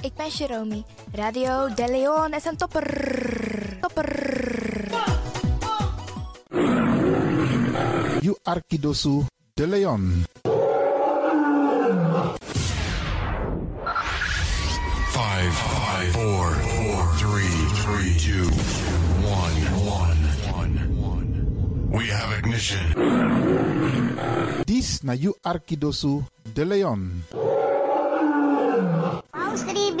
Ik ben Jerome. Radio De Leon is een topper. Topper. You Arkidosu de Leon. Five, five, four, four, three, three, two, one, one, one. We have ignition. This na You Arkidosu de Leon. Paus 3B.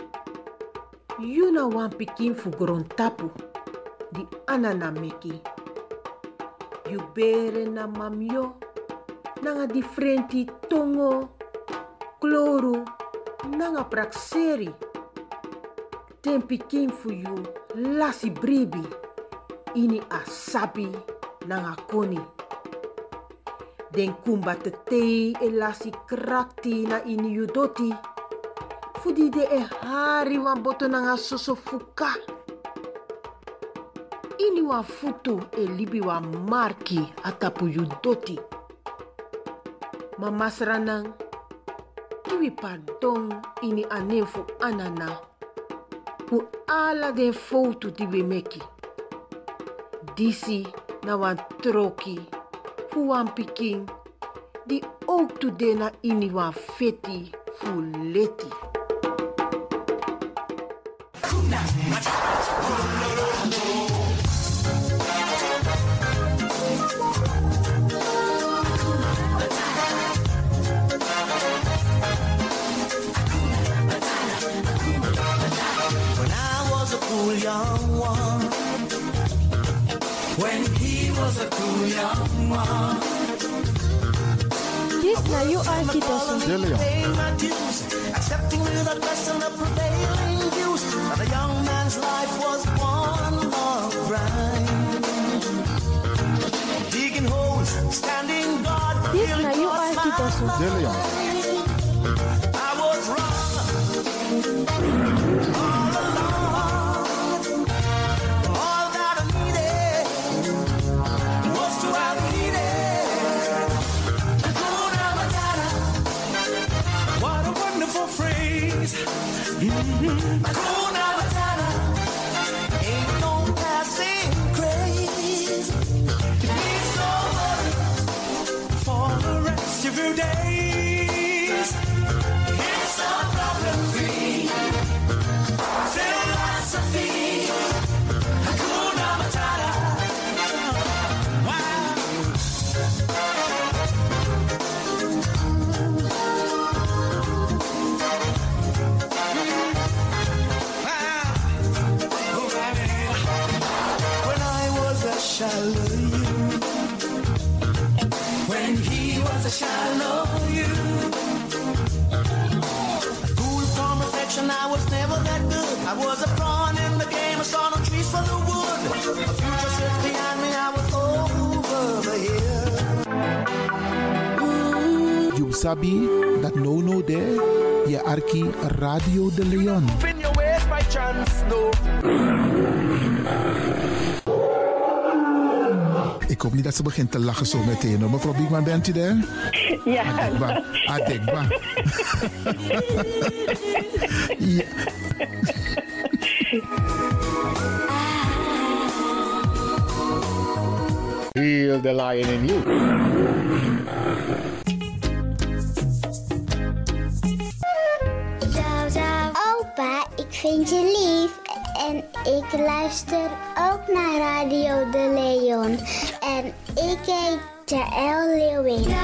you know one pikin for Grontapu, the anana meki. You bere na mamyo, nanga differenti tongo, kloro, nanga prakseri. Ten pikin for you, lasi bribi, ini asabi, nanga koni. Den kumba te tei e lasi krakti na ini you doti. Fudi de e hari wan boto nanga soso fuka. Ini wan futu e libi wan marki atapu yu doti. Mama sranang, kiwi pardon ini anen fu anana. Fu ala den foutu di we meki. Disi na wan troki, fu wan pikin, di ook tu de na ini wan feti fu leti. When I was a cool young one. When he was a cool young one. This na You Arkidosu. De Leon. Paying my dues, accepting without question the prevailing views. But a young man's life was one long grind. Digging holes, standing guard. This till it na You was my Arkidosu. De Leon. I was wrong all along. All that I needed was to have needed. Hakuna Matata. What a wonderful phrase. Mhm. Hakuna Matata. Ain't no passing craze. It means no worry for the rest of your days. It's a problem-free philosophy. Hakuna Matata. Wow. Wow. Oh, baby. When I was a Shallow you. When he was a shallow you. Cool from reflection, I was never that good. I was a pawn in the game, I saw no trees for the wood. A future sits behind me, I was over the hill. You sabi that no no there. Je Arki Radio de Leon. In your ways by chance, no. Ik hoop niet dat ze begint te lachen zo meteen. hoor. Mevrouw Biekman, bent u daar? Ja, Adekba. Adekba. ja. Heel de lion in you. Zou, zou. Opa, ik vind je lief. En ik luister ook naar Radio De Leon. En ik heet Jaël Leeuwen.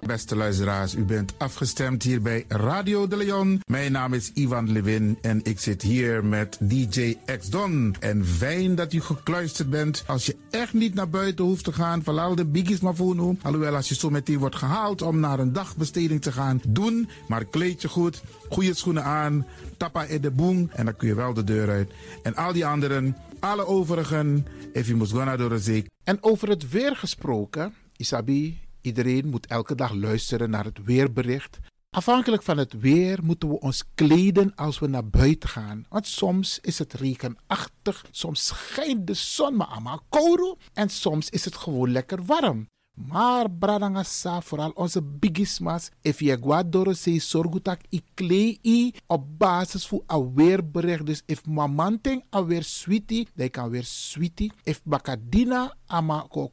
Beste beste luisteraars. U bent afgestemd hier bij Radio de Leon. Mijn naam is Ivan Levin en ik zit hier met DJ X Don. En fijn dat u gekluisterd bent. Als je echt niet naar buiten hoeft te gaan, verlaal de biggies maar voor nu. Alhoewel, als je zo meteen wordt gehaald om naar een dagbesteding te gaan, doen. Maar kleed je goed, goede schoenen aan, tappa in de boem en dan kun je wel de deur uit. En al die anderen, alle overigen, if you must go naar door de zee. En over het weer gesproken, Isabi, iedereen moet elke dag luisteren naar het weerbericht. Afhankelijk van het weer moeten we ons kleden als we naar buiten gaan. Want soms is het regenachtig, soms schijnt de zon maar allemaal kouro en soms is het gewoon lekker warm. Maar bradangasa, vooral onze bigismas, if je guadoro se sorgutak i klei op basis voor een weerbericht. Dus if mamanting a weer sweetie, dan kan weer sweetie. If bakadina ama ko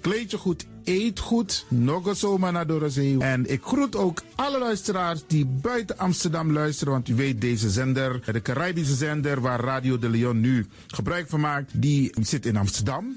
Kleed je goed, eet goed. Nog een zomaar naar Dorozee. En ik groet ook alle luisteraars die buiten Amsterdam luisteren. Want u weet, deze zender, de Caribische zender waar Radio de Leon nu gebruik van maakt, die zit in Amsterdam.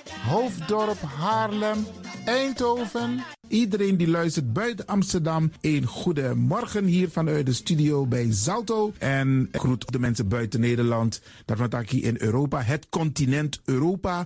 Hoofddorp, Haarlem, Eindhoven. Iedereen die luistert buiten Amsterdam, een goede morgen hier vanuit de studio bij Zalto. En ik groet de mensen buiten Nederland, dat wat ik hier in Europa, het continent Europa.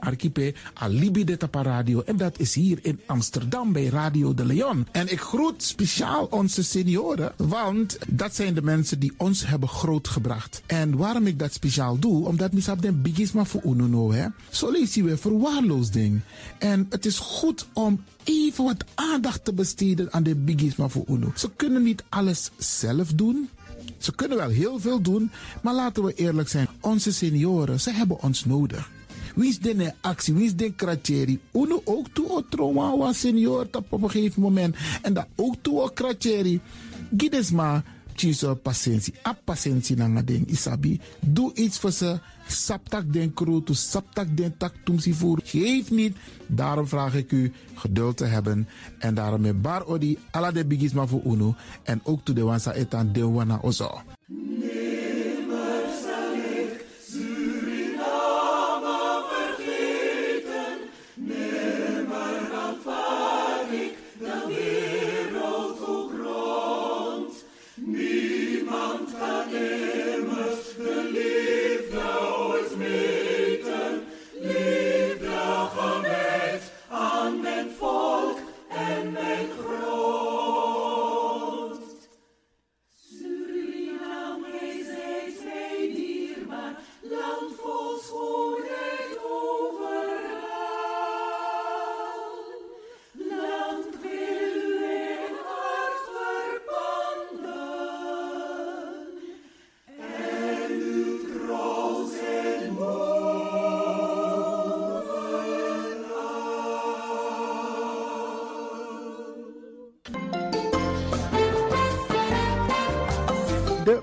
archipel Alibi de Tapa Radio. En dat is hier in Amsterdam bij Radio de Leon. En ik groet speciaal onze senioren, want dat zijn de mensen die ons hebben grootgebracht. En waarom ik dat speciaal doe, omdat misap den bigisma voor ununo, hè. Zo lezen we verwaarloosding. En het is goed om even wat aandacht te besteden aan de bigisma voor uno. Ze kunnen niet alles zelf doen. Ze kunnen wel heel veel doen, maar laten we eerlijk zijn. Onze senioren, ze hebben ons nodig. Wie den de actie, wie is de kratjeri? Uno ook toe o trauma wa senior tap op een gegeven moment. En dat ook toe o kratjeri. Gides maar, tjiso patiëntie. A patiëntie na nga ding, isabi. Doe iets voor ze. Saptak den kroto, saptak den tak tumsi voer. Geef niet. Daarom vraag ik u geduld te hebben. En daarom met bar odi, ala de bigisma voor uno. En ook toe de wansa etan de wana ozo. De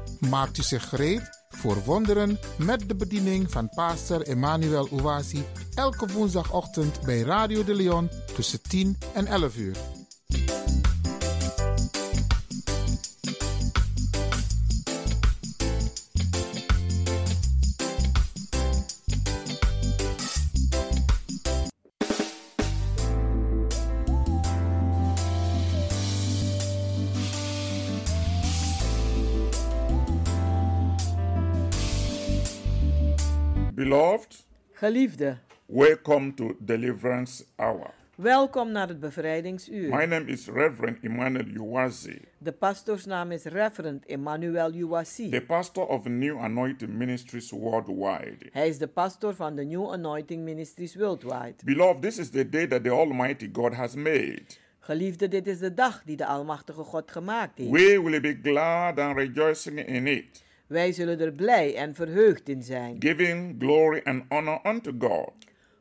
Maakt u zich gereed voor wonderen met de bediening van pastor Emmanuel Owasi elke woensdagochtend bij Radio de Leon tussen 10 en 11 uur. Beloved, Geliefde, welcome to Deliverance Hour. welkom naar het bevrijdingsuur. My name is Reverend Emmanuel Uwazi, De pastoorsnaam is Reverend Emmanuel Uwasi. the pastor of New Anointing Ministries worldwide. Hij is de pastor van de New Anointing Ministries Worldwide. Beloved, this is the day that the Almighty God has made. Geliefde, dit is de dag die de Almachtige God gemaakt heeft. We will be glad and rejoicing in it, Wij zullen er blij en verheugd in zijn. giving glory and honor unto God,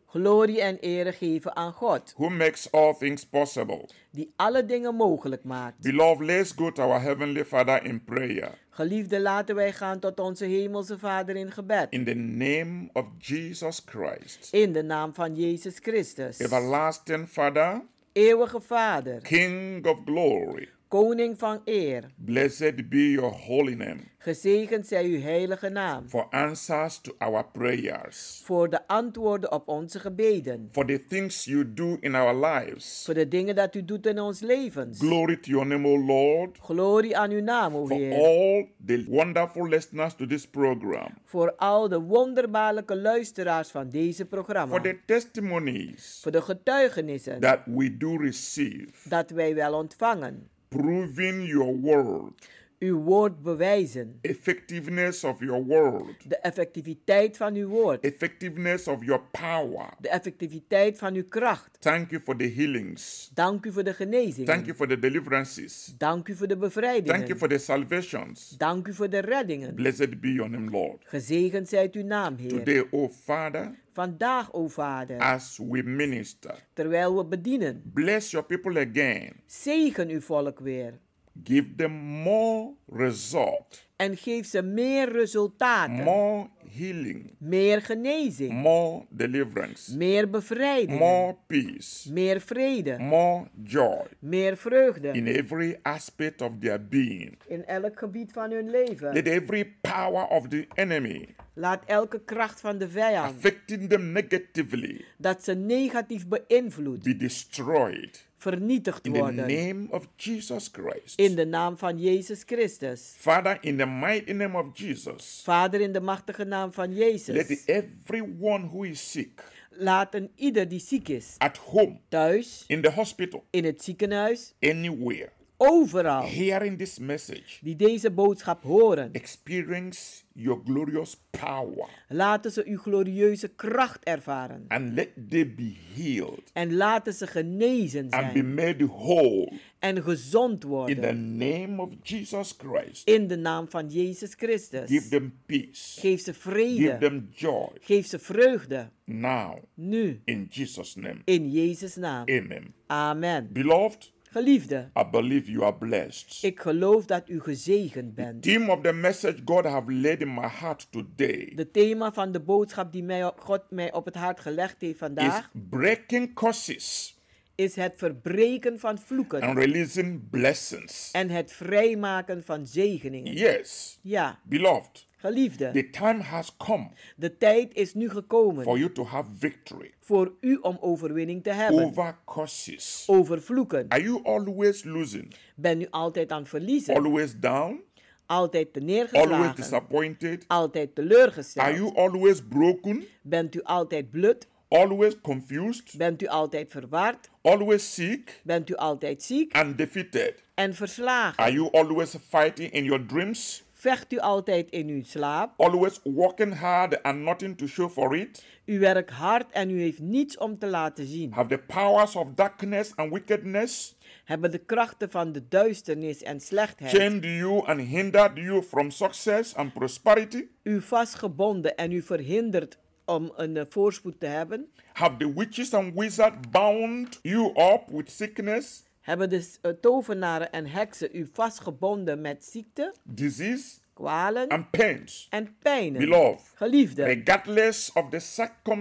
Glorie en ere geven aan God, who makes all things possible. die alle dingen mogelijk maakt. Beloved, let's go to our Heavenly Father in prayer. Geliefde, laten wij gaan tot onze Hemelse Vader in gebed. In the name of Jesus Christ, In de naam van Jezus Christus. everlasting Father, Eeuwige Vader, King of glory. Koning van eer, Blessed be your holy name gezegend zij uw heilige naam. for answers to our prayers, Voor de antwoorden op onze gebeden. for the things you do in our lives. Voor de dingen dat u doet in ons levens. Glory to your name, O Lord, Glorie aan uw naam, o for Heer. all the wonderful listeners to this program, Voor al de wonderbaarlijke luisteraars van deze programma. for the testimonies Voor de getuigenissen that we do receive, dat wij wel ontvangen. proving your word, Uw woord bewijzen. effectiveness of your word, De effectiviteit van uw woord. effectiveness of your power. De effectiviteit van uw kracht. Thank you for the healings. Dank u voor de genezing. Thank you for the deliverances. Dank u voor de bevrijding. Thank you for the salvations. Dank u voor de reddingen. Blessed be your name, Lord. Gezegend zijt uw naam, Heer. Today, O Father, Vandaag, o Vader, as we minister, terwijl we bedienen, bless your people again. zegen uw volk weer. Give them more result, En geef ze meer resultaten, more healing, meer genezing, more deliverance, meer bevrijding, more peace, meer vrede, more joy meer vreugde. in every aspect of their being. in elk gebied van hun leven. Let every power of the enemy Laat elke kracht van de vijand, affecting them negatively dat ze negatief beïnvloedt, be destroyed vernietigd in the worden. name of Jesus Christ. In de naam van Jezus Christus. Father, in the mighty name of Jesus, Vader, in de machtige naam van let Jezus. everyone who is sick Laat een ieder die ziek is, at home, thuis, in the hospital, in het ziekenhuis, anywhere, overal, hearing this message, die deze boodschap horen, experience your glorious power laten ze uw glorieuze kracht ervaren. and let they be healed En laten ze genezen and be zijn made whole en gezond in the worden. name of Jesus Christ. In de naam van Jezus Give Christus. them peace, Geef ze give vrede. them joy Geef ze vreugde. now Nu. in Jesus' name. In Jezus' naam. Amen. Amen. Beloved, Geliefde, I believe you are blessed. ik geloof dat u gezegend bent. Theme of the message God have laid in my heart today De thema van de boodschap die mij, God mij op het hart gelegd heeft is vandaag breaking curses is het verbreken van vloeken and releasing blessings. en het vrijmaken van zegeningen. Yes, Ja, beloved, Geliefde, the time has come de tijd is nu gekomen for you to have victory voor u om overwinning te hebben over curses. over vloeken. Are you always losing, Ben u altijd aan het verliezen, always down, altijd te always neergeslagen, disappointed? altijd Are teleurgesteld. you always broken, Bent u altijd blut, always confused, bent u altijd verward, always sick bent u altijd ziek and defeated? en verslagen. Are you always fighting in your dreams, Vecht u altijd in uw slaap, always working hard and nothing to show for it? u werkt hard en u heeft niets om te laten zien. Have the powers of darkness and wickedness Hebben de krachten van de duisternis en slechtheid chained you and hindered you from success and prosperity? u vastgebonden en u verhinderd om een eh, voorspoed te hebben? Have the witches and wizards bound you up with sickness, Hebben de s- eh, tovenaren en heksen u vastgebonden met ziekte, disease, kwalen and pains? en pijnen? Beloved, Geliefde, regardless of the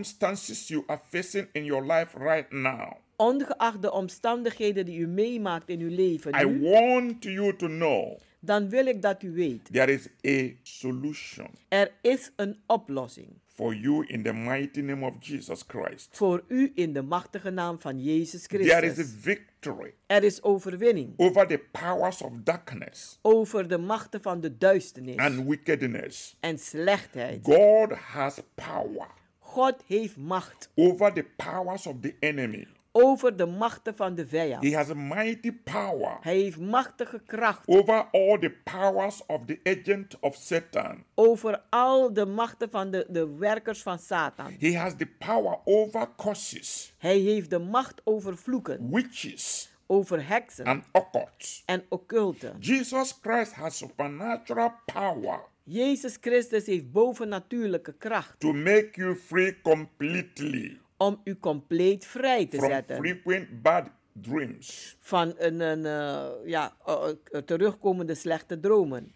circumstances you are facing in your life right now, ongeacht de omstandigheden die u meemaakt in uw I leven nu, want you to know dan wil ik dat u weet, there is a solution er is een oplossing for you in the mighty name of Jesus Christ. voor u in de machtige naam van Jezus There is a Christus. victory Er is overwinning over the powers of darkness over de machten van de duisternis and wickedness. en slechtheid. God has power God heeft macht over the powers of the enemy. over de machten van de He vijand. has a mighty power Hij heeft machtige kracht over all the powers of the agent of Satan. over al de machten van de, de werkers van Satan. He has the power over curses, Hij heeft de macht over vloeken, witches, over heksen and occults. en occulten. Jesus Christ has supernatural power Jezus Christus heeft bovennatuurlijke kracht to make you free completely om u compleet vrij te from zetten frequent bad dreams, van een, een eh, ja, eh, eh, terugkomende slechte dromen,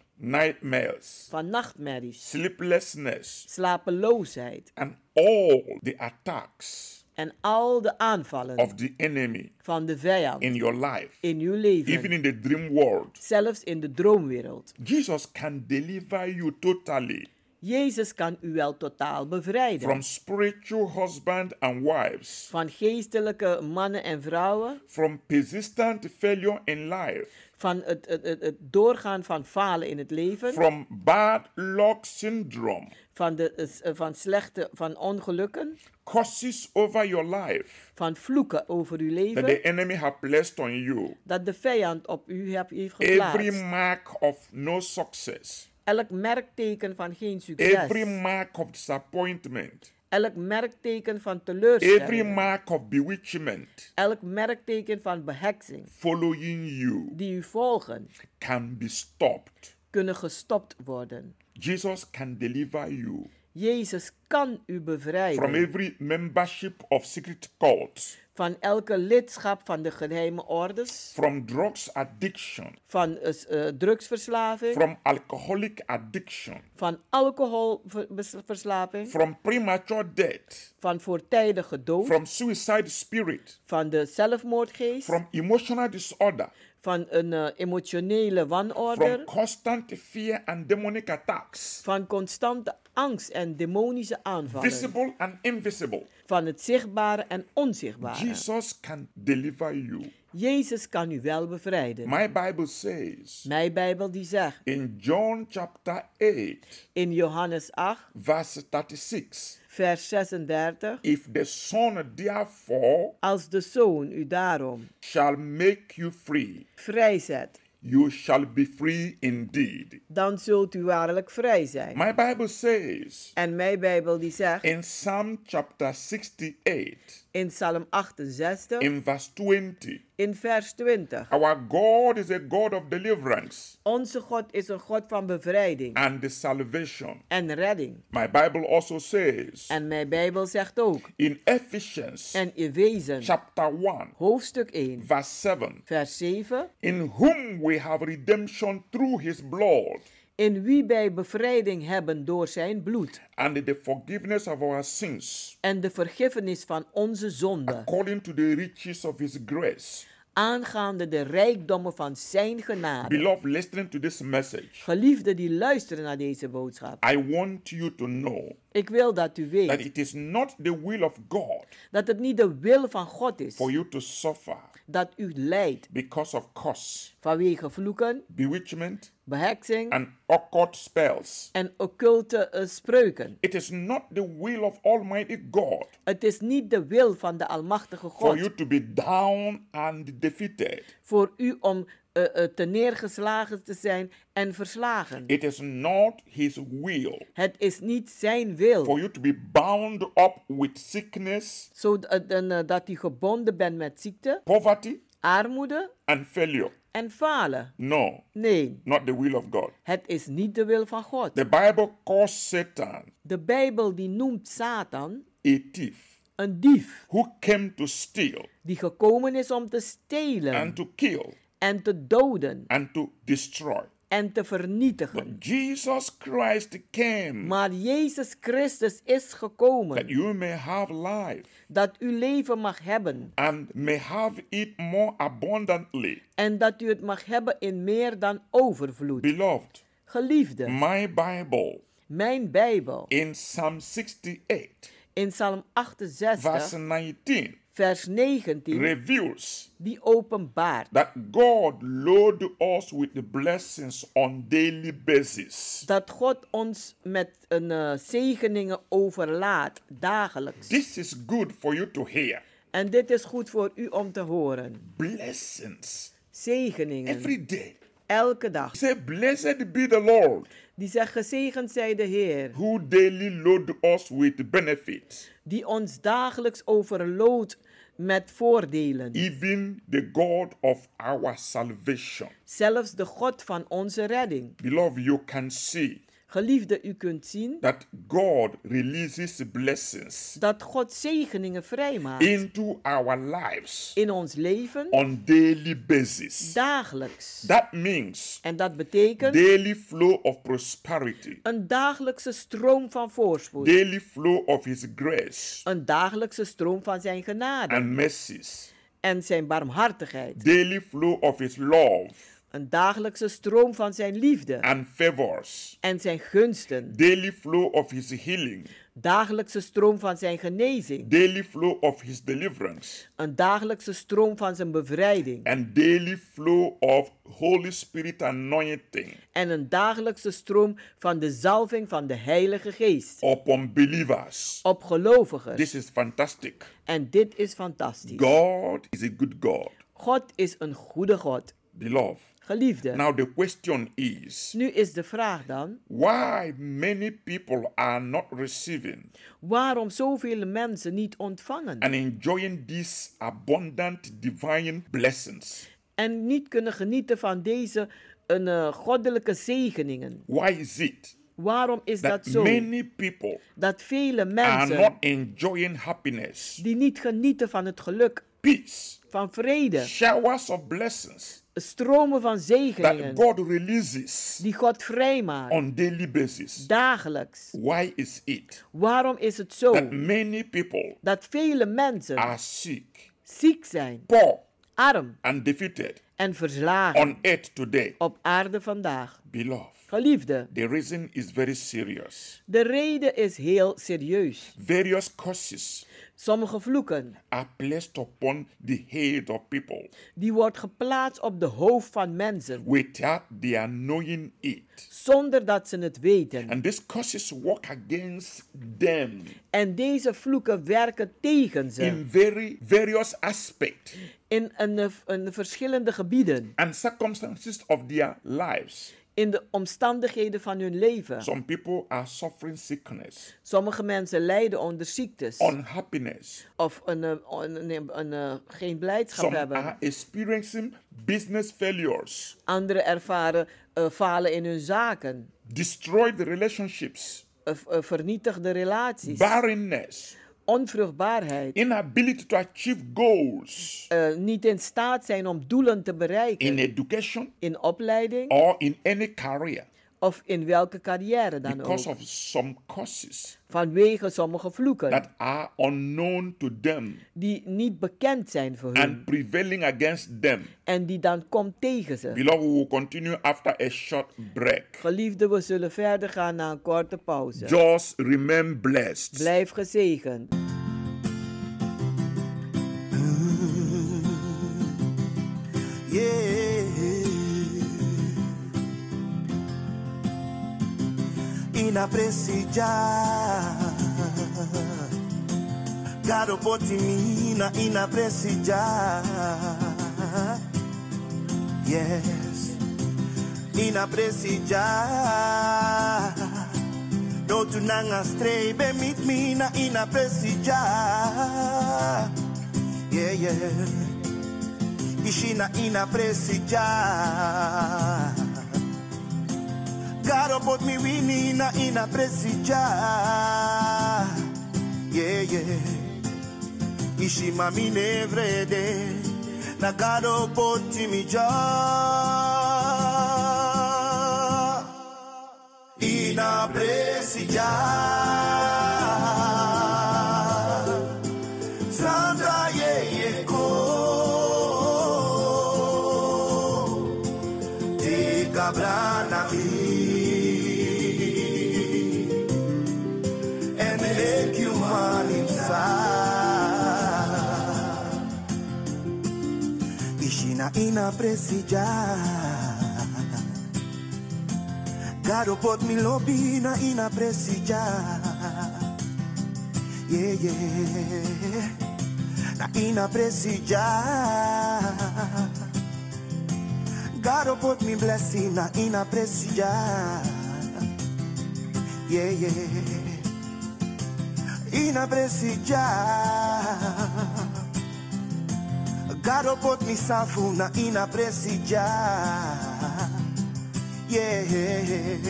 nightmares, van nachtmerries, sleeplessness, slapeloosheid and all the attacks en al de aanvallen of the enemy van de vijand in your life, in uw even leven, in the dream world. zelfs in de droomwereld. Jesus can deliver you totally Jezus kan u wel totaal from bevrijden spiritual husband and wives, van geestelijke mannen en vrouwen, from persistent failure in life, van het, het, het, het doorgaan van falen in het leven, from bad luck syndrome, van, de, eh, s- eh, van slechte, van ongelukken, curses over your life van vloeken over uw that leven, the enemy has placed on you. dat de vijand op u heb- heeft Every geplaatst. mark of no success, Elk merkteken van geen every succes, mark of disappointment, elk merkteken van every teleurstelling, mark of bewitchment elk merkteken van beheksing following you die u volgen, can be stopped. kunnen gestopt worden. Jesus can deliver you Jezus kan u from bevrijden every membership of secret cults, van elke lidschap van de geheime ordes, from drugs addiction, van eh, s- eh, drugsverslaving, from alcoholic addiction, van alcoholverslaving, from premature death, van voortijdige dood, from suicide spirit, van de zelfmoordgeest, from emotional disorder, van een eh, emotionele from wanorde, constant fear and demonic attacks, van constante angst en demonische aanvallen, visible and invisible. van het zichtbare en onzichtbare. Jesus can deliver you. Jezus kan u wel bevrijden. My Bible says Mijn Bijbel die zegt in John chapter 8, in Johannes 8, verse 36 vers 36, If the Son therefore als de Zoon u daarom shall make you free, vrijzet, you shall be free indeed. dan zult u waarlijk vrij zijn. My Bible says En mijn Bijbel die zegt in Psalm chapter 68, in Psalm 68, in verse 20, in vers 20. Our God is a God of deliverance Onze God is een God van bevrijding and salvation. en redding. My Bible also says En mijn Bijbel zegt ook in Ephesians en in wezen, chapter 1, hoofdstuk 1, verse 7, vers 7, in whom we have redemption through his blood in wie wij bevrijding hebben door zijn bloed and the forgiveness of our sins en de vergiffenis van onze zonden, according to the riches of his grace aangaande de rijkdommen van zijn genade. Beloved, listening to this message, Geliefden die luisteren naar deze boodschap, I want you to know ik wil dat u that weet it is not the will of God dat het niet de wil van God is for you to suffer dat u lijdt because of curse, vanwege vloeken, bewitchment, beheksing and occult spells. en occulte eh, spreuken. It is not the will of Almighty God Het is niet de wil van de Almachtige for you God to be down and defeated. voor u om eh, eh, te neergeslagen te zijn en verslagen. It is not His will Het is niet zijn wil for you to be bound up with sickness, zodat eh, dat u gebonden bent met ziekte, poverty, armoede and failure. en falen. No, Nee, not the will of God. het is niet de wil van God. The Bible calls Satan De Bijbel die noemt Satan a thief een dief who came to steal die gekomen is om te stelen and to kill en te doden and to destroy. en te vernietigen. But Jesus Christ came Maar Jezus Christus is that gekomen you may have life dat u leven mag hebben and may have it more abundantly. en dat u het mag hebben in meer dan overvloed. Beloved, Geliefde, my Bible mijn Bijbel in Psalm 68, in Psalm verse 68, 19, vers 19, reveals die openbaart that God load us with the blessings on daily basis. dat God ons met een eh, zegeningen overlaat dagelijks. This is good for you to hear. En dit is goed voor u om te horen. Blessings Zegeningen. every day. Elke dag. Say, Blessed be the Lord Die zegt, gezegend zij de Heer, who daily load us with benefits, die ons dagelijks overloodt met voordelen. even the God of our salvation. Zelfs de God van onze redding. Beloved, you can see Geliefde, u kunt zien that God releases blessings dat God zegeningen vrijmaakt into our lives in ons leven, on daily basis. dagelijks. That means En dat betekent daily flow of prosperity, een dagelijkse stroom van voorspoed. daily flow of His grace Een dagelijkse stroom van zijn genade and mercies, en zijn barmhartigheid. daily flow of His love Een dagelijkse stroom van zijn liefde and favors, en zijn gunsten. daily flow of His healing, Dagelijkse stroom van zijn genezing. daily flow of His deliverance, Een dagelijkse stroom van zijn bevrijding. and daily flow of Holy Spirit anointing En een dagelijkse stroom van de zalving van de Heilige Geest. upon believers. Op gelovigen. This is fantastic. En dit is fantastisch. God is a good God, God is een goede God. beloved. Geliefde. Now the question is Nu is de vraag dan, why many people are not receiving waarom zoveel mensen niet ontvangen and enjoying these abundant divine blessings? en niet kunnen genieten van deze een, eh, goddelijke zegeningen? Why is it Waarom is that dat zo? many people Dat vele are not mensen enjoying happiness, die niet genieten van het geluk, peace, van vrede, showers of blessings stromen van that zegeningen God releases die God vrijmaakt, on daily basis? dagelijks. Why is it Waarom is het zo that many people dat vele mensen are sick, ziek zijn, poor, arm and defeated en verslagen on earth today? op aarde vandaag? Beloved, Geliefde, the reason is very serious. de reden is heel serieus. Various curses Sommige vloeken are placed upon the head of people die wordt geplaatst op de hoofd van mensen without their knowing it. zonder dat ze het weten. And these curses work against them En deze vloeken werken tegen in ze very various aspects in een, een verschillende gebieden, and circumstances of their lives. in de omstandigheden van hun leven. Some people are suffering sickness, Sommige mensen lijden onder ziektes unhappiness. of een, eh, een, een, een, eh, geen blijdschap Some are hebben. experiencing business failures, Anderen ervaren eh, falen in hun zaken, destroyed relationships, eh, v- eh, vernietigde relaties, barrenness, onvruchtbaarheid, inability to achieve goals eh, niet in staat zijn om doelen te bereiken in education in opleiding or in any career. of in welke carrière dan because ook. of some curses Vanwege sommige vloeken that are unknown to them die niet bekend zijn voor hen and prevailing against them. en die dan komt tegen ze. Beloved, we will continue after a short break. Geliefde, we zullen verder gaan na een korte pauze. Just remain blessed. Blijf gezegend. Yeah. Inaprecijar. Caro Potimina, inaprecijar. Yes. Inaprecijar. Don't you nanga stray, be meet me na inaprecijar. Yeah, yeah. Ishina ina presija. God put me winning na ina presija. Yeah, yeah. Ishima mine evrede. Na God put me ja. Ina presija. Sandra Yeyeko Tika Branami And make you man inside Ishina ina presija Garo pot mi lobina e ina presija yeah, yeah. Na ina presija. God put me blessing na ina presija. Yeah, yeah. Ina presija. God put me safu na ina presija. Yeah.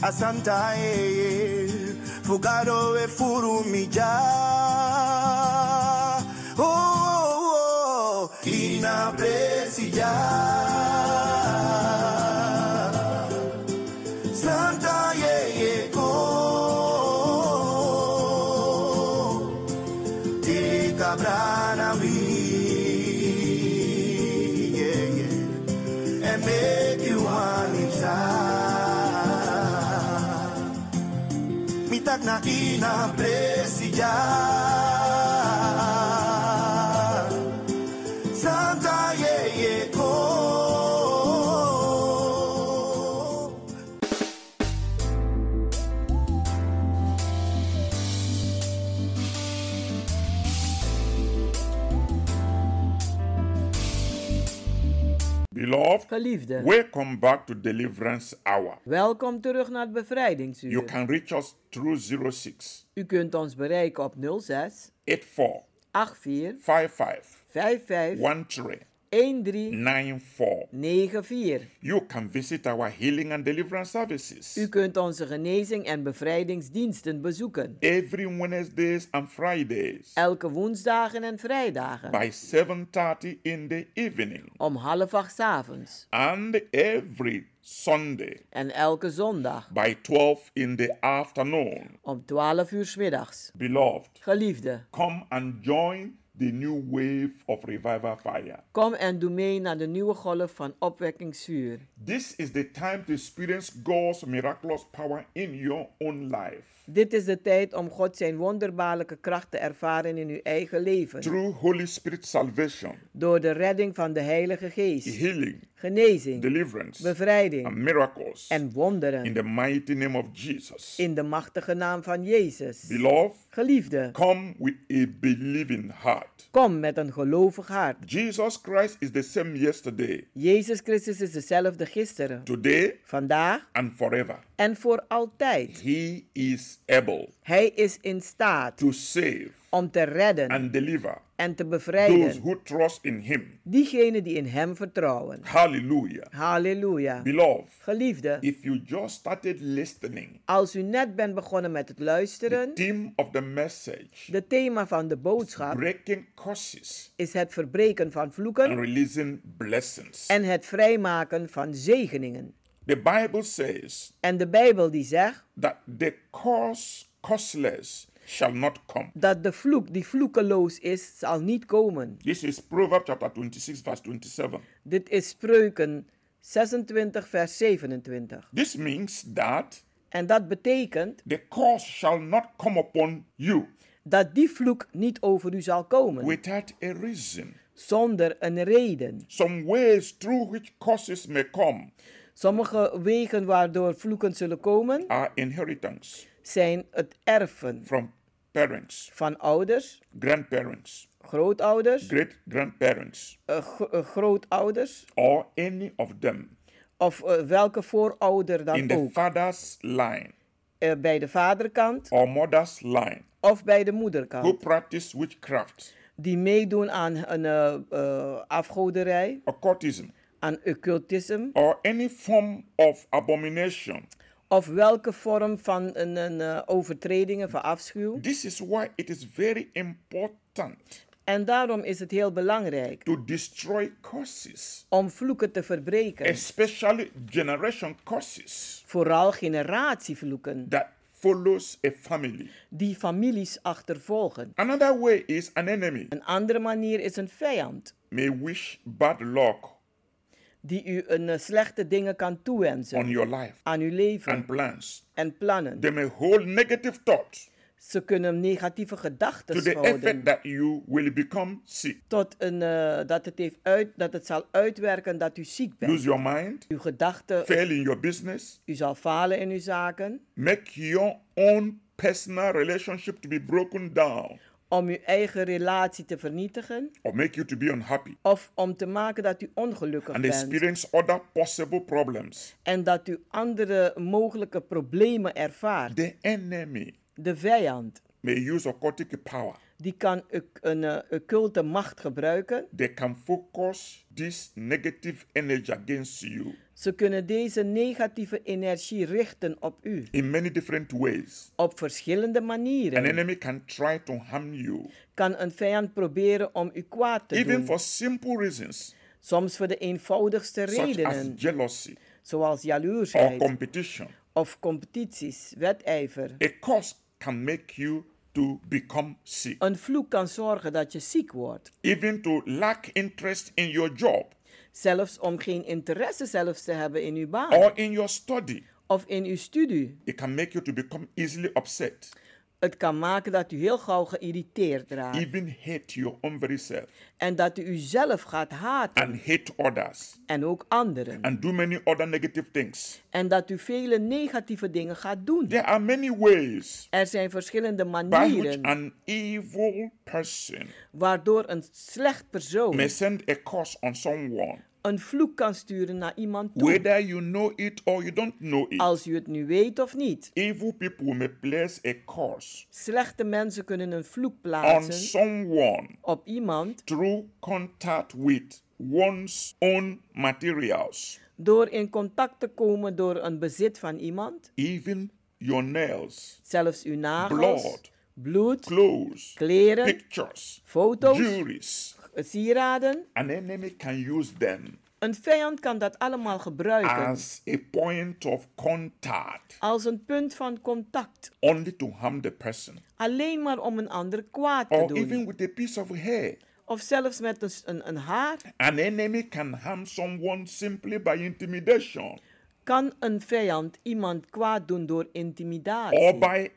Asanta eh, eh, Fugaro e furumija Oh, oh, oh Ina presija Santa eh, yeyeko Tika branavi Yeah, yeah and make you one inside. Mi tak na ina presija. Santa ye ye ko. Beloved, Geliefde, welcome back to Deliverance Hour. welkom terug naar het You bevrijdingsuur. can reach us through 06 U kunt ons bereiken op 06 84 84 55 55 13 13 94. 94. You can visit our healing and deliverance U services kunt onze genezing en bevrijdingsdiensten bezoeken. every Wednesdays and Fridays Elke woensdagen en vrijdagen. by 7:30 in the evening Om half acht 's avonds. and every Sunday En elke zondag. by 12 in the afternoon. Om 12 uur 's middags. Beloved, Geliefde, come and join the new wave of revival fire. kom en doe mee naar de nieuwe golf van opwekkingsvuur. This is the time to experience God's miraculous power in your own life Dit is de tijd om God zijn wonderbaarlijke kracht te ervaren in uw eigen leven. through Holy Spirit salvation, Door de redding van de Heilige Geest. healing, Genezing, deliverance, and bevrijding miracles en in wonderen. the mighty name of Jesus. In de machtige naam van Jezus. Beloved, Geliefde, come with a believing heart. kom met een gelovig hart. Jesus Christ is the same yesterday, Jezus Christus is dezelfde gisteren, today, vandaag and forever. en voor altijd. He is able Hij is in staat to save om te redden and deliver en te those bevrijden who trust in Him. diegenen die in Hem vertrouwen. Hallelujah. Halleluja. Beloved, Geliefde, if you just started listening, als u net bent begonnen met het luisteren, the theme of the message de thema van de boodschap breaking curses is het verbreken van and vloeken releasing blessings. en het vrijmaken van zegeningen. The Bible says En de Bijbel die zegt that the curse causeless shall not come. dat de vloek die vloekeloos is, zal niet komen. This is Proverbs chapter 26, verse 27. Dit is Spreuken 26, vers 27. This means that En dat betekent the curse shall not come upon you dat die vloek niet over u zal komen, without a reason. zonder een reden. Some ways through which curses may come Sommige wegen waardoor vloeken zullen komen, are inheritance zijn het erven from parents, van ouders, grandparents, grootouders, great grandparents, eh, gro- eh, grootouders or any of them of eh, welke voorouder in dan the ook. father's line Eh, bij de vaderkant or mother's line of bij de who moederkant. practice witchcraft, Die meedoen aan een eh, eh, afgoderij, occultism, aan occultisme or any form of abomination. of welke vorm van een, een, eh, overtredingen van afschuw. This is why it is very important En daarom is het heel belangrijk to destroy curses, om vloeken te verbreken. especially generation curses Vooral generatievloeken that follows a family. die families achtervolgen. Another way is an enemy Een andere manier is een vijand may wish bad luck die u een eh, slechte dingen kan toewensen on your life aan uw and leven plans. en plannen. They may hold negative thoughts Ze kunnen negatieve to gedachten the effect houden that you will become sick, tot een, eh, dat, het heeft uit, dat het zal uitwerken dat u ziek lose bent. your mind, Uw gedachten, fail in your business, u zal falen in uw zaken. make your own personal relationship to be broken down, om uw eigen relatie te vernietigen or make you to be unhappy of om te maken dat u ongelukkig and bent experience other possible problems. en dat u andere mogelijke problemen ervaart. The enemy De vijand may use occultic power. die kan oc- een eh, occulte macht gebruiken. They can focus this negative energy against you Ze kunnen deze negatieve energie richten op u in many different ways. op verschillende An manieren. enemy can try to harm you, Kan een vijand proberen om u kwaad te even doen, for simple reasons soms voor de eenvoudigste such as redenen, jealousy zoals or jaloersheid competition. of competities, wedijver. A curse can make you to become sick, Een vloek kan zorgen dat je ziek wordt. even to lack interest in your job Zelfs om geen interesse zelfs te hebben in uw baan or in your study. of in uw studie. It can make you to become easily upset, Het kan maken dat u heel gauw geïrriteerd raakt even hate your own very self en dat u uzelf gaat haten and hate others en ook anderen. and do many other negative things. En dat u vele negatieve dingen gaat doen. There are many ways Er zijn verschillende by which manieren an evil person waardoor een slecht persoon may send a curse on someone, een vloek kan sturen naar iemand toe. whether you know it or you don't know it. Als u het nu weet of niet. Evil people may place a curse Slechte mensen kunnen een vloek on plaatsen someone op iemand through contact with one's own materials, door in contact te komen door een bezit van iemand. even your nails, zelfs uw nagels, Blood. bloed, clothes, kleren, pictures, foto's, jewelries. sieraden. An enemy can use them Een vijand kan dat allemaal gebruiken as a point of contact als een punt van contact, only to harm the person, alleen maar om een ander kwaad te or Oh, even doen. with a piece of hair. Of zelfs met een, s- een, een haar An enemy can harm someone simply by intimidation kan een vijand iemand kwaad doen door or intimidatie by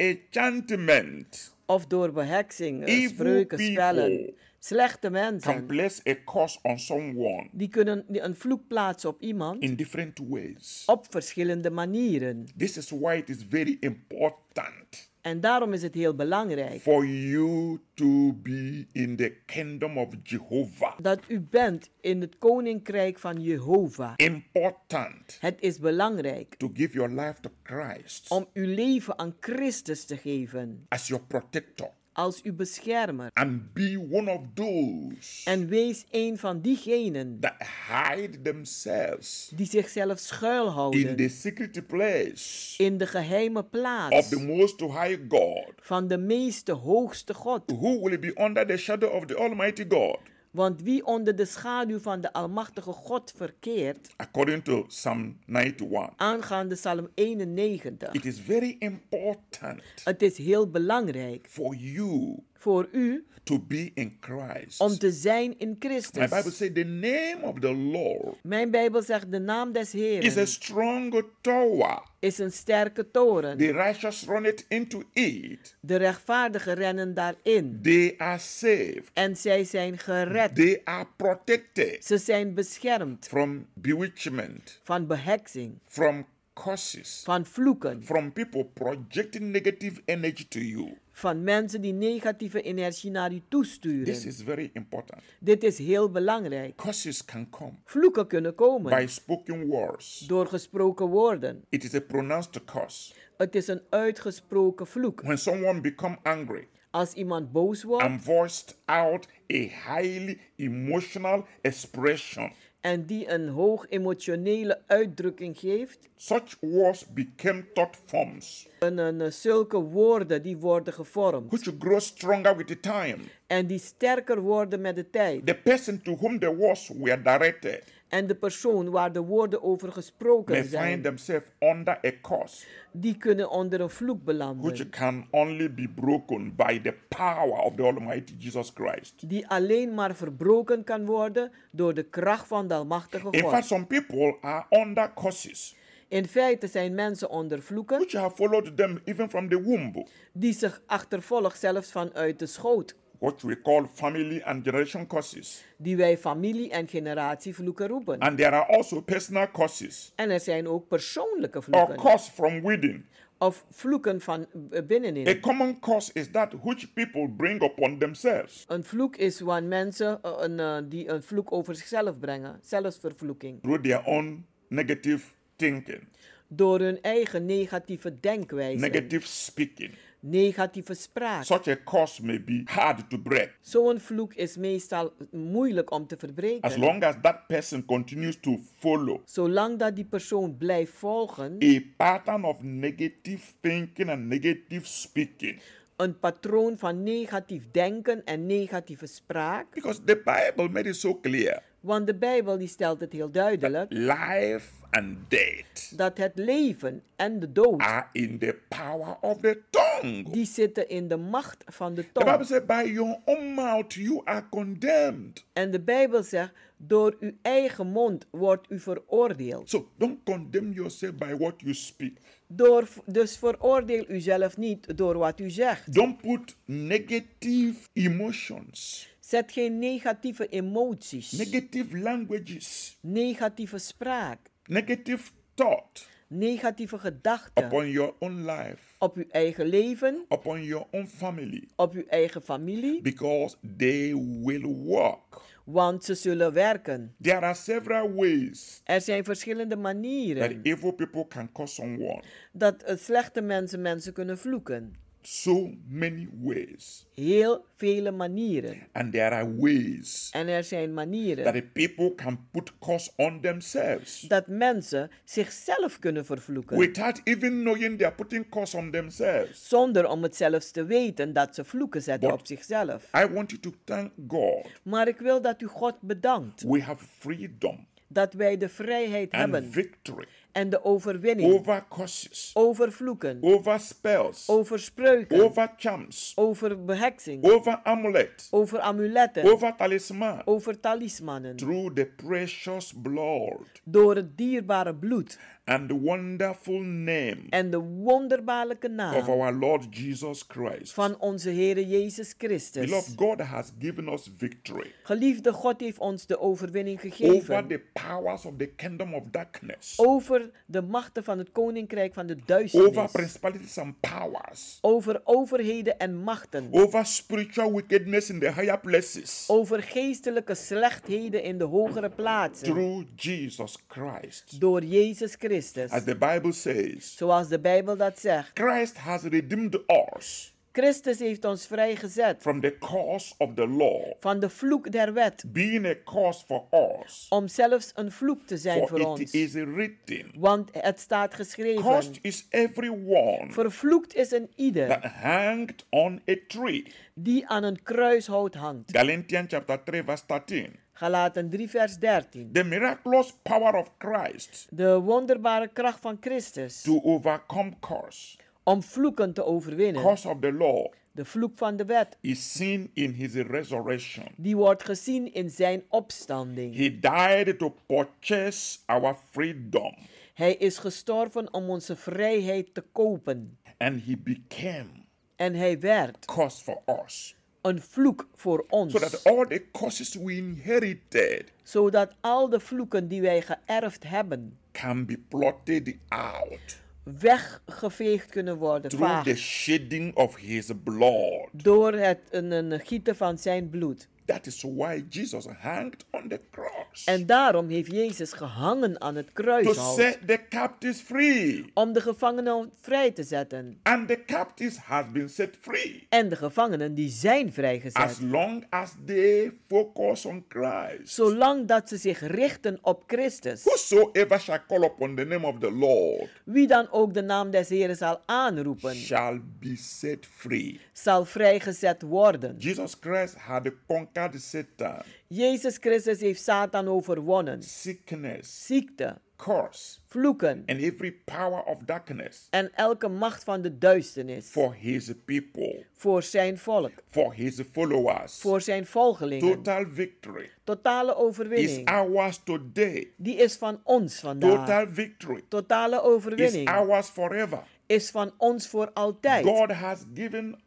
enchantment. of door beheksing, eh, Evil spreuken, people spellen. Slechte Can mensen place a curse on someone die kunnen die een vloek plaatsen op iemand in different ways. op verschillende manieren. This is why it is very important En daarom is het heel belangrijk for you to be in the kingdom of Jehovah. dat u bent in het koninkrijk van Jehovah. Important Het is belangrijk to give your life to Christ om uw leven aan Christus te geven as your protector als uw beschermer. and be one of those En wees een van diegenen that hide themselves die zichzelf in the schuilhouden secret place in de geheime of plaats the Most High God, van de meeste hoogste God, who will be under the shadow of the Almighty God. Want wie onder de schaduw van de Almachtige God verkeert, according to Psalm 91. aangaande Psalm 91, It is very important het is heel belangrijk for you voor u to be in Christ. om te zijn in My Bible Christus. says the name of the Lord Mijn Bijbel zegt de naam des is a Heeren strong tower. is een sterke toren. The righteous run it into it. De rechtvaardigen rennen daarin They are saved. en zij zijn gered. They are protected Ze zijn beschermd from bewitchment, van beheksing, from curses, van vloeken, from people projecting negative energy to you. van mensen die negatieve energie naar u This toesturen. is very important. Dit is heel belangrijk. Curses can come Vloeken kunnen by komen spoken words. door gesproken woorden. It is a pronounced curse. Het is een uitgesproken vloek. When someone become angry Als iemand boos wordt and voiced out a highly emotional expression, en die een hoog emotionele uitdrukking geeft, such words became thought forms en, en, eh, zulke woorden die worden gevormd which grow stronger with the time. en die sterker worden met de tijd. The person to whom the words were directed En de persoon waar de woorden over may gesproken find zijn, themselves under a curse die kunnen onder een vloek which belanden. can only be broken by the power of the Almighty Jesus Christ. Die alleen maar verbroken kan worden door de kracht van de Almachtige In fact, God. some people are under curses In feite zijn mensen onder vloeken which have followed them even from the womb, die zich achtervolgt zelfs vanuit de schoot, what we call family and generation curses. die wij familie- en generatievloeken roepen. And there are also personal curses En er zijn ook persoonlijke or vloeken curse from within. of vloeken van eh, A binnenin. common curse is that which people bring upon themselves Een vloek is wanneer mensen eh, een, eh, die een vloek over zichzelf brengen, zelfsvervloeking, through their own negative thinking, door hun eigen negatieve denkwijze, negative speaking. negatieve spraak. Such a curse may be hard to break Zo'n vloek is meestal moeilijk om te as verbreken. long as that person continues to follow Zolang dat die persoon blijft volgen, a pattern of negative thinking and negative speaking. een patroon van negatief denken en negatieve spraak. Because the Bible made it so clear Want de Bijbel die stelt het heel duidelijk life and death dat het leven en de dood are in the power of the tongue. die zitten in de macht van de The Bible tong. says, by your own mouth you are condemned. En de Bijbel zegt, door uw eigen mond wordt u veroordeeld. So don't condemn yourself by what you speak. Door, dus veroordeel uzelf niet door wat u zegt. Don't put negative emotions, Zet geen negatieve emoties, negative languages, negatieve spraak, negative thought negatieve gedachten upon your own life, op uw eigen leven, upon your own family, op uw eigen familie, because they will work. want ze zullen werken. There are several ways Er zijn verschillende that manieren evil people can cause someone. dat eh, slechte mensen mensen kunnen vloeken. So many ways. Heel vele manieren. And there are ways En er zijn that manieren the people can put curse on themselves dat mensen zichzelf kunnen vervloeken. without even knowing they are putting curse on themselves. Zonder om het zelfs te weten dat ze vloeken zetten But- op zichzelf. I want you to thank God. Maar ik wil dat u God bedankt We have freedom dat wij de vrijheid and hebben victory en de overwinning over curses, over vloeken, over spells, over spreuken, over charms, over beheksing, over amulet, over amuletten, over talisman. over talismannen. Through the precious blood Door het dierbare bloed and the wonderful name en de wonderbaarlijke of naam our Lord Jesus Christ. van onze Heere Jezus Christus. Beloved, God has given us victory Geliefde God heeft ons de overwinning over gegeven the powers of the kingdom of darkness, over de machten van het koninkrijk van de over duisternis, principalities and powers, over overheden en machten, over spiritual wickedness in the higher places. over geestelijke slechtheden in de hogere plaatsen, Through Jesus Christ. door Jezus Christus. As the Bible says, Zoals de Bijbel dat zegt, Christ has redeemed us Christus heeft ons vrijgezet from the curse of the law, van de vloek der wet, being a curse for us. om zelfs een vloek te zijn For voor it ons. is written, Want het staat geschreven, cursed is everyone vervloekt is een that ieder hanged on a tree. die aan een kruishout hangt. Galatians chapter 3 verse 13. Galaten 3 vers 13. The miraculous power of Christ De wonderbare kracht van Christus to overcome curse, om vloeken te overwinnen. curse of the law, De vloek van de wet, is seen in his resurrection. die wordt gezien in zijn opstanding. He died to purchase our freedom Hij is gestorven om onze vrijheid te kopen. and he became En hij werd curse for us. een vloek voor ons. So that all the curses we inherited zodat al de vloeken die wij geërfd hebben can be plotted out weggeveegd kunnen worden through vaag, the shedding of his blood. door het een, een gieten van zijn bloed. That is why Jesus hanged on the cross En daarom heeft Jezus gehangen aan het to kruishout set the captives free. om de gevangenen vrij te zetten. And the captives have been set free En de gevangenen die zijn vrijgezet. as long as they focus on Christ. Zolang dat ze zich richten op Christus. Whosoever shall call upon the name of the Lord Wie dan ook de naam des Heren zal aanroepen, shall be set free. zal vrijgezet worden. Jesus Christ had conquered Satan, Jezus Christus heeft Satan overwonnen. sickness, Ziekte, curse, vloeken and every power of darkness en elke macht van de duisternis for his people, voor zijn volk, for his followers. voor zijn volgelingen. Total victory Totale is overwinning, ours today. die is van ons vandaag. Total victory Totale is overwinning ours forever. is van ons voor altijd. God has given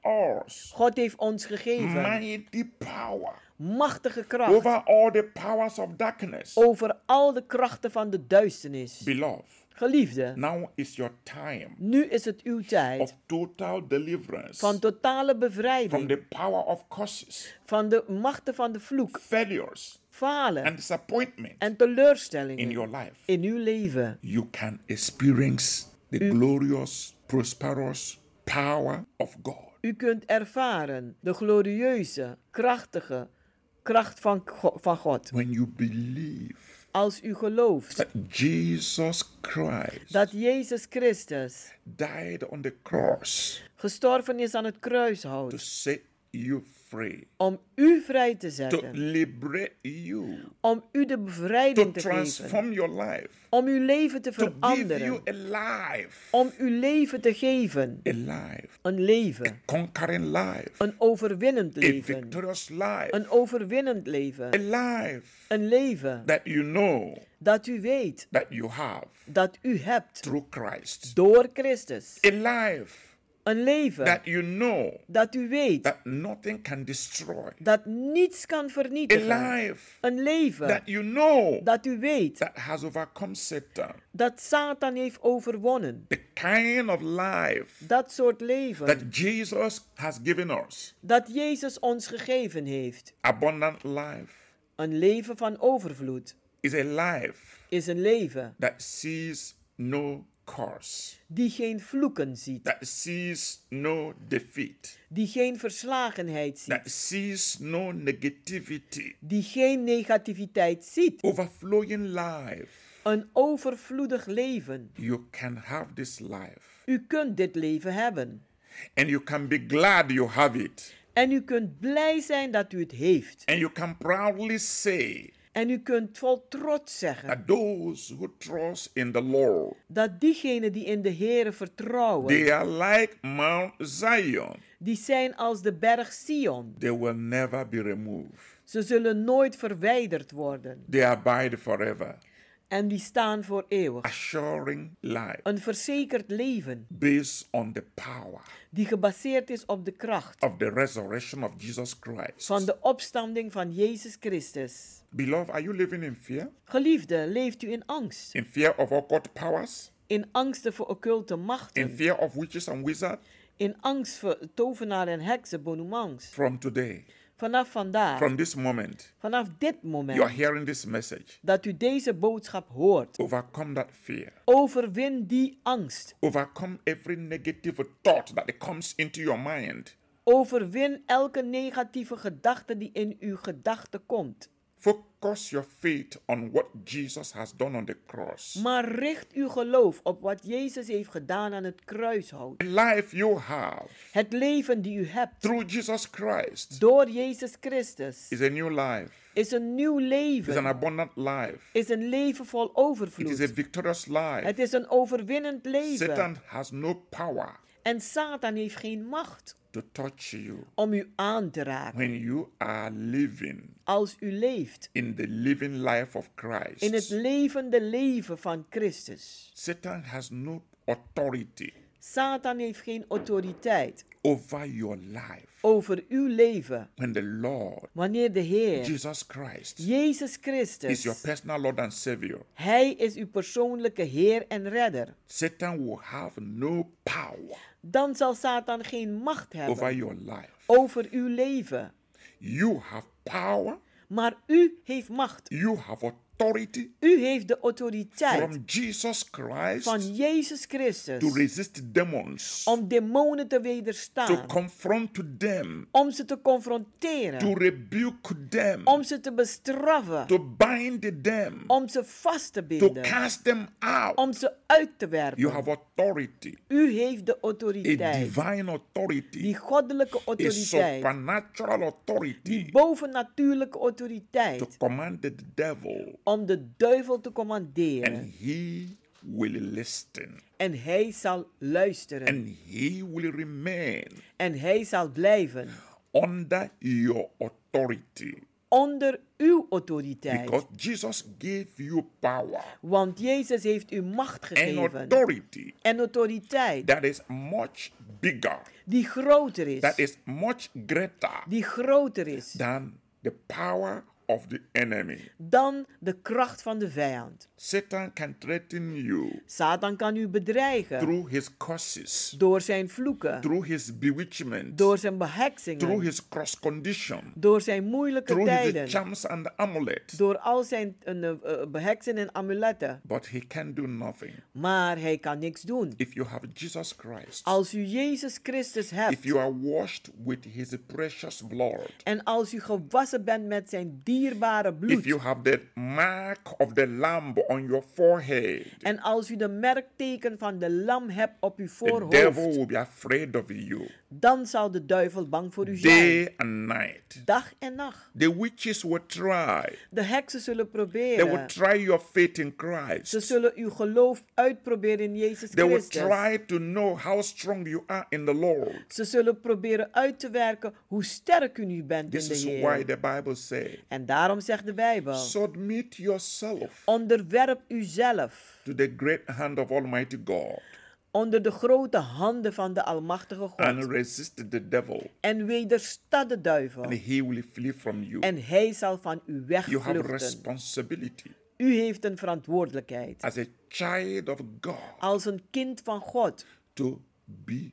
us God heeft ons gegeven mighty power machtige kracht over all the powers of darkness. over al de krachten van de duisternis. Beloved, Geliefde, Now is your time nu is het uw of tijd total deliverance van totale from bevrijding the power of curses, van de machten van de vloek, failures, and falen disappointment en in your teleurstellingen life. in uw leven. You can experience the glorious, prosperous power of God. U kunt ervaren de glorieuze, krachtige kracht van, Go- van God. When you believe Als u gelooft that Jesus Christ dat Jezus Christus died on the cross gestorven is aan het to kruishout set you free, om u vrij te to zetten, liberate you, om u de to bevrijding te geven, transform your life, om uw leven te to give you veranderen, a life, om uw leven te geven, a life. een leven, conquering life, een overwinnend a leven, victorious life, een overwinnend a leven, life een leven that you know dat u weet that you have dat u hebt through Christ, door Christus, a life een leven that you know dat u weet that nothing can destroy, dat niets kan a vernietigen. life Een leven that you know dat u weet that has overcome Satan, dat Satan heeft overwonnen. the kind of life Dat soort leven that Jesus has given us, dat Jezus ons gegeven heeft. abundant life, Een leven van overvloed is a life is een leven that sees no curse, die geen vloeken ziet, that sees no defeat. die geen verslagenheid that ziet, sees no negativity, die geen negativiteit ziet. overflowing life. Een overvloedig leven. You can have this life U kunt dit leven hebben. and you can be glad you have it. En u kunt blij zijn dat u het heeft. And you can proudly say En u kunt vol trots zeggen that those who trust in the Lord, dat diegenen die in de Heere vertrouwen, they are like Mount Zion. die zijn als de berg Sion. They will never be removed. Ze zullen nooit verwijderd worden They abide forever, en die staan voor eeuwig. assuring life Een verzekerd leven based on the power die gebaseerd is op de kracht of the resurrection of Jesus Christ. van de opstanding van Jezus Christus. Beloved, are you living in fear? Geliefde, leeft u in angst? In fear of occult powers? In angsten voor occulte in machten? fear of witches and wizards In angst voor tovenaar en heksen, bonumans? from today. Vanaf vandaag, From this moment, vanaf dit moment you are hearing this message. dat u deze boodschap hoort, Overcome that fear. overwin die angst. Overcome every negative thought that comes into your mind. Overwin elke negatieve gedachte die in uw gedachten komt. Focus your faith on what Jesus has done on the cross. Maar richt uw geloof op wat Jezus heeft gedaan aan het kruishout. The life you have Het leven die u hebt through Jesus Christ door Jezus Christus is a new life. is een nieuw It's an leven. abundant life. Is een leven vol It is a overvloed. victorious life. Het is een overwinnend leven. Satan has no power En Satan heeft geen macht to touch you om u aan te raken when you are living als u leeft in the living life of Christ. in het levende leven van Christus. Satan has no authority Satan heeft geen autoriteit over your life over uw leven when the Lord wanneer de Heer, Jesus Christ Jezus is your Christus, personal Lord and Savior. Hij is uw persoonlijke Heer en Redder. Satan will have no power Dan zal Satan geen macht over hebben your life. over uw leven. You have power, Maar u heeft macht. you have authority U heeft de autoriteit from Jesus Christ van Jezus to Christus resist demons, om Ah. demonen te to wederstaan, confront to them, om ze te to confronteren, rebuke them, Ah. om ze te bestraffen, to bind them, om ze vast te to binden, cast them out. om ze uit te You have werpen. authority, U heeft de a autoriteit, divine die authority, goddelijke a autoriteit, supernatural die authority bovennatuurlijke to autoriteit, command the devil, om de duivel te and commanderen. he will listen. En hij zal luisteren. and he will remain En hij zal blijven under your authority onder uw autoriteit. because Jesus gave you power Want Jezus heeft u macht and gegeven authority en autoriteit that is much bigger, die groter that is, is much greater die groter is than the power of the enemy. dan de kracht van de vijand. Satan can threaten you Satan kan u bedreigen through his curses, door zijn vloeken, through his bewitchment, door zijn through beheksingen, his cross condition, door zijn moeilijke through his tijden, charms and amulets, door al zijn eh, eh, beheksen en amuletten. but he can do nothing Maar hij kan niks doen. if you have Jesus Christ. Als u Jezus Christus If hebt you are washed with his precious blood, en als u gewassen bent met zijn dierbare if you bloed have the mark of the lamb on your forehead, en als u de merkteken van de lam hebt op uw the devil voorhoofd, will be afraid of you dan zal de duivel bang voor u zijn. day and night. Dag en nacht. The witches will try. De heksen zullen They will proberen. try your faith in Ze Christ. zullen uw geloof uitproberen in Jezus They will Christus. try to know how strong you are in the Lord. Ze zullen proberen uit te werken hoe sterk u nu bent in This de is why Heer. the Bible says, En daarom zegt de Bijbel, submit yourself onderwerp uzelf to the great hand of Almighty God onder de grote handen van de Almachtige and God. resist the devil, En wedersta de duivel. and he will flee from you. En hij zal van u You have wegvluchten. responsibility U heeft een verantwoordelijkheid. as a child of God Als een kind van God. to be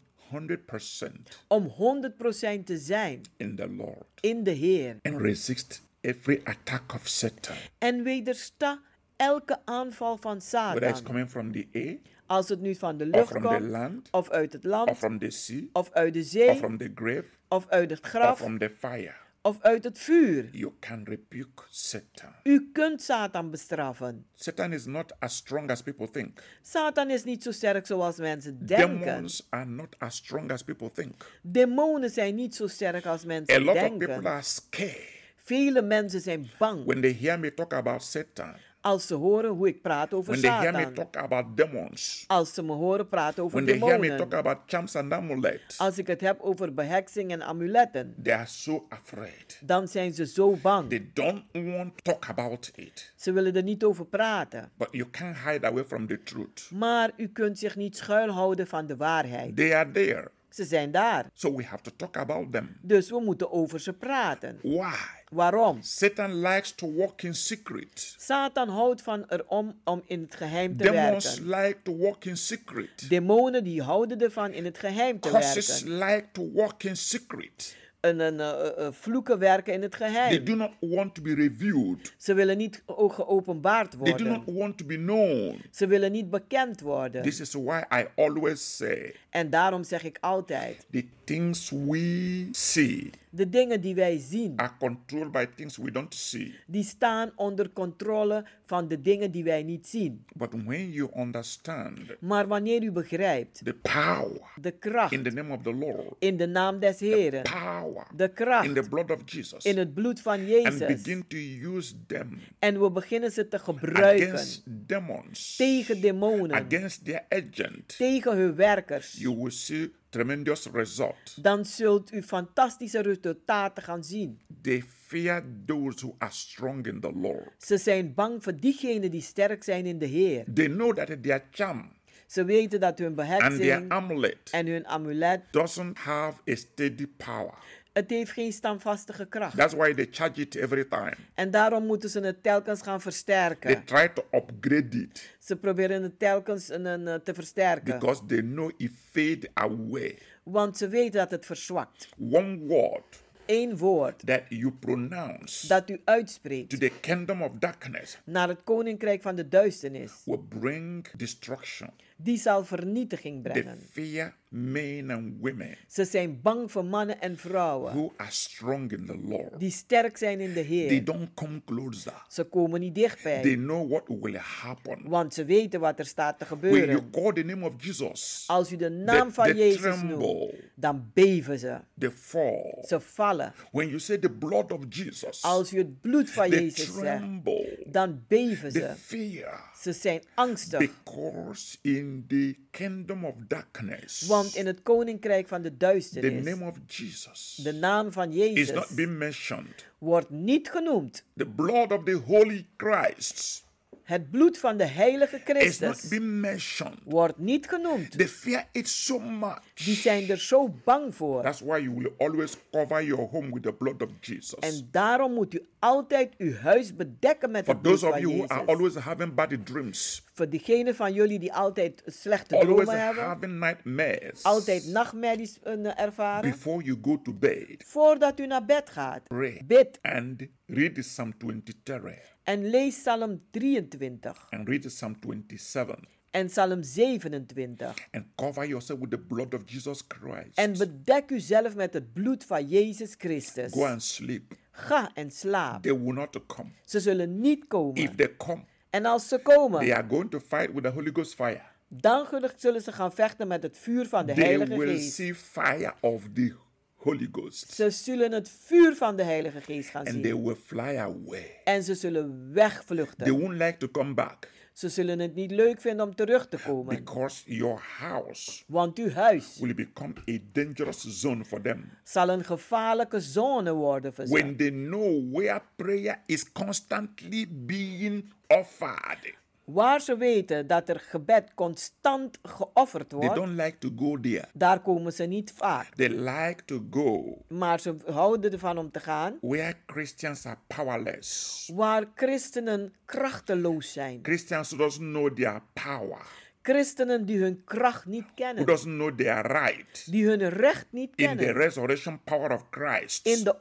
100% Om 100% te zijn in the Lord in de Heer. and resist every attack of Satan, En wedersta elke aanval van whether it's Satan. coming from the air Als het nu van de or lucht from the komt. land Of uit het or land. from the sea Of uit de or zee. from the grave Of uit het or graf. from the fire. Of uit het vuur. You can rebuke Satan. U kunt Satan bestraffen. Satan is not as strong as people think. Satan is niet zo sterk zoals mensen denken. Demons are not as strong as people think. Demonen zijn niet zo sterk als A mensen lot of people denken. are scared Vele mensen zijn bang when they hear me talk about Satan. als ze horen hoe ik praat over when they hear me Satan. talk about demons, Als ze me horen praten over when they hear me demonen. talk about charms and amulets, Als ik het heb over beheksing en amuletten. they are so afraid. Dan zijn ze zo They bang. don't want to talk about it. Ze willen er niet over praten. But you can't hide away from the truth. Maar u kunt zich niet schuilhouden van de waarheid. They are there. Ze zijn daar. So we have to talk about them. Dus we moeten over ze praten. Why? Waarom? Satan likes to walk in secret. Satan houdt van erom om in het geheim te Demons werken. like to walk in secret. Demonen die houden ervan in het geheim te Curses werken. like to walk in secret. een, een, eh, eh, vloeken werken in het They geheim. do not want to be revealed. Ze willen niet o- geopenbaard They do not worden. want to be known. Ze willen niet bekend worden. This is why I always say En daarom zeg ik altijd, the things we see de dingen die wij zien, are controlled by things we don't see. die staan onder controle van de dingen die wij niet zien. But when you understand Maar wanneer u begrijpt the power de kracht in the name of the Lord, in de naam des Heren, power de in the kracht blood of Jesus, in het bloed van and Jezus, begin to use them en we beginnen ze te gebruiken against demons, tegen demonen, against their agent, tegen hun werkers, you will see tremendous result. dan zult u fantastische resultaten gaan zien. They fear those who are strong in the Lord. Ze zijn bang voor diegenen die sterk zijn in de Heer. They know that their charm Ze weten dat hun and their behetsing amulet en hun amulet, doesn't have a steady power. het heeft geen standvastige kracht. That's why they charge it every time. En daarom moeten ze het telkens gaan They versterken. try to upgrade it Ze proberen het telkens een, een, eh, te versterken. because they know it fade away. Want ze weten dat het verzwakt. One word Eén woord that you pronounce dat u to uitspreekt the kingdom of darkness naar het koninkrijk van de duisternis, will bring destruction. die zal vernietiging They brengen. fear men and women Ze zijn bang voor mannen en vrouwen who are strong in the Lord. die sterk zijn in de They Heer. don't come closer. Ze komen niet They dichtbij, know what will happen. want ze weten wat er staat te When you gebeuren. call the name of Jesus, Als u de naam they, van they Jezus noemt, tremble, dan beven ze. they fall. Ze vallen. When you say the blood of Jesus, Als u het bloed van they Jezus zegt, tremble. dan beven They ze. fear. Ze zijn angstig, Because in the kingdom of darkness, want in het koninkrijk van de the duisternis, name of Jesus de naam van is not Jezus being mentioned. wordt niet genoemd. The blood of the Holy Christ Het bloed van de heilige is not Christus being mentioned. wordt niet genoemd. They fear it so Die much. zijn er zo bang voor. That's why you will always cover your home with the blood of Jesus. En daarom moet u altijd uw huis bedekken met For het bloed those of van you who are Jezus. always having bad dreams, Voor diegenen van jullie die altijd slechte always dromen hebben, having nightmares, altijd nachtmerries eh, ervaren, before you go to bed, voordat u naar bed gaat, pray bid and read Psalm 23 en lees Psalm 23 and read Psalm 27. en Psalm 27. and cover yourself with the blood of Jesus Christ. En bedek uzelf met het bloed van Jezus Christus. Go and sleep. Ga en slaap. They will not come. Ze zullen niet If komen. they come, En als ze they komen, are going to fight with the Holy Ghost fire. dan gul- zullen ze gaan vechten met het vuur van de They Heilige will Geest. see fire of the Holy Ghost Ze zullen het vuur van de Heilige Geest gaan and they zien. will fly away. En ze zullen They wegvluchten. won't like to come back Ze zullen het niet leuk vinden om terug te komen. because your house Want uw huis will become a dangerous zone for them. zal een gevaarlijke zone worden voor ze. When they know where prayer is constantly being offered, Waar ze weten dat er gebed constant geofferd they wordt, don't like to go there. daar komen ze niet vaak. They like to go Maar ze houden ervan om te gaan where Christians are powerless. waar christenen krachteloos zijn. Christians who doesn't know their power, Christenen die hun kracht niet who kennen, doesn't know their right die hun recht niet in the kennen. resurrection power of Christ. In de